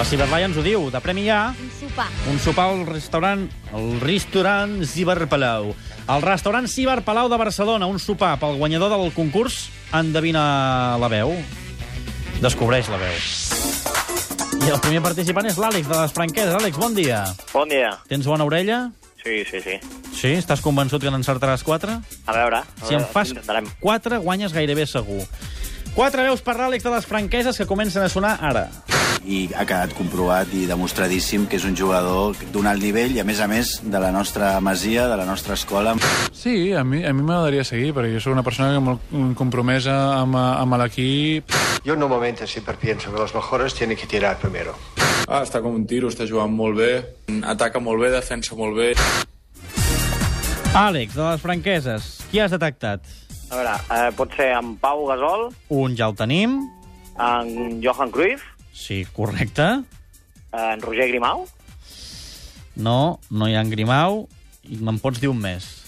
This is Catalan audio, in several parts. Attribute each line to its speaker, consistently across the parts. Speaker 1: Cyberlai ens ho diu, de premi hi ha
Speaker 2: Un sopar.
Speaker 1: un sopar al restaurant, al restaurant Ciberpalau. Al restaurant Ciberpalau de Barcelona, un sopar pel guanyador del concurs Endevina la veu. Descobreix la veu. I el primer participant és l'Àlex, de les Franqueses. Àlex, bon dia.
Speaker 3: Bon dia.
Speaker 1: Tens bona orella?
Speaker 3: Sí, sí, sí.
Speaker 1: Sí? Estàs convençut que n'encertaràs quatre?
Speaker 3: A veure... a
Speaker 1: Si en
Speaker 3: veure,
Speaker 1: fas
Speaker 3: Intentarem.
Speaker 1: quatre, guanyes gairebé segur. Quatre veus per l'Àlex de les franqueses que comencen a sonar ara.
Speaker 4: i ha quedat comprovat i demostradíssim que és un jugador d'un alt nivell i, a més a més, de la nostra masia, de la nostra escola.
Speaker 5: Sí, a mi a mi m'agradaria seguir, perquè jo sóc una persona que molt mm, compromesa amb, eh, amb l'equip.
Speaker 6: Yo normalmente siempre pienso que los mejores tienen que tirar primero.
Speaker 7: Ah, està com un tiro, està jugant molt bé, ataca molt bé, defensa molt bé.
Speaker 1: Àlex, de les franqueses, qui has detectat?
Speaker 3: A veure, eh, pot ser en Pau Gasol,
Speaker 1: Un ja el tenim.
Speaker 3: en Johan Cruyff,
Speaker 1: Sí, correcte.
Speaker 3: en Roger Grimau,
Speaker 1: No, no hi ha en Grimau. I me'n pots dir un més.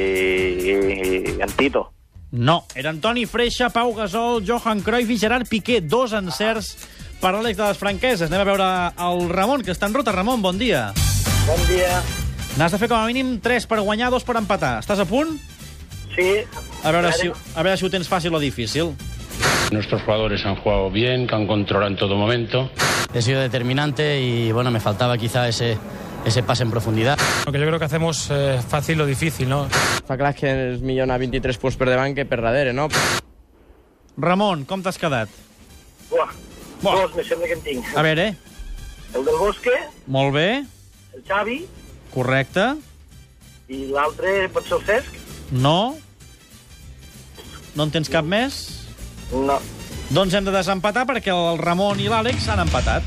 Speaker 3: i, i en Tito.
Speaker 1: No, era Antoni Freixa, Pau Gasol, Johan Cruyff i Gerard Piqué. Dos encerts per l'Àlex de les franqueses. Anem a veure el Ramon, que està en ruta. Ramon, bon dia.
Speaker 3: Bon dia.
Speaker 1: N'has de fer com a mínim 3 per guanyar, 2 per empatar. Estàs a punt?
Speaker 3: Sí.
Speaker 1: A veure, si, a veure si ho tens fàcil o difícil.
Speaker 8: Nuestros jugadores han jugado bien, que han controlado en todo momento.
Speaker 9: He sido determinante y bueno, me faltaba quizá ese, ese pase en profundidad.
Speaker 10: Lo que yo creo que hacemos eh, fácil lo difícil, ¿no?
Speaker 9: Fa clar que és millor anar 23 punts per davant que per darrere, no?
Speaker 1: Ramon, com t'has quedat?
Speaker 3: Buah.
Speaker 1: Buah. Ah.
Speaker 3: Dos, me sembla que en tinc.
Speaker 1: A veure,
Speaker 3: El del Bosque,
Speaker 1: molt bé,
Speaker 3: el Xavi,
Speaker 1: correcte,
Speaker 3: i l'altre pot ser el Cesc?
Speaker 1: no, no en tens cap més?
Speaker 3: No.
Speaker 1: Doncs hem de desempatar perquè el Ramon i l'Àlex han empatat.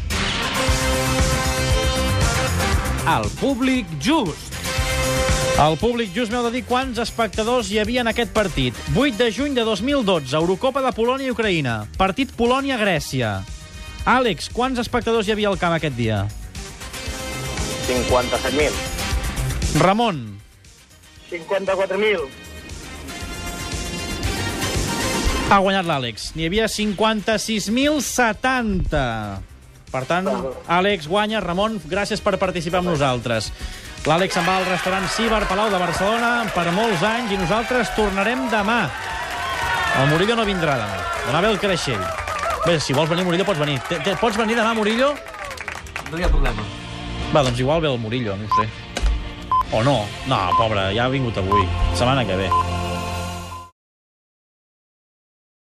Speaker 10: Al públic just.
Speaker 1: El públic just m'heu de dir quants espectadors hi havia en aquest partit. 8 de juny de 2012, Eurocopa de Polònia i Ucraïna. Partit Polònia-Grècia. Àlex, quants espectadors hi havia al camp aquest dia?
Speaker 3: 57.000.
Speaker 1: Ramon,
Speaker 3: 54.000.
Speaker 1: Ha guanyat l'Àlex. N'hi havia 56.070. Per tant, Àlex guanya. Ramon, gràcies per participar amb nosaltres. L'Àlex se'n va al restaurant Cibar Palau de Barcelona per molts anys i nosaltres tornarem demà. El Murillo no vindrà demà. Demà ve el Creixell. Bé, si vols venir, Murillo, pots venir. Te, te, pots venir demà, Murillo?
Speaker 9: No hi ha problema.
Speaker 1: Va, doncs igual ve el Murillo, no ho sé. O no. No, pobre, ja ha vingut avui. Setmana que ve.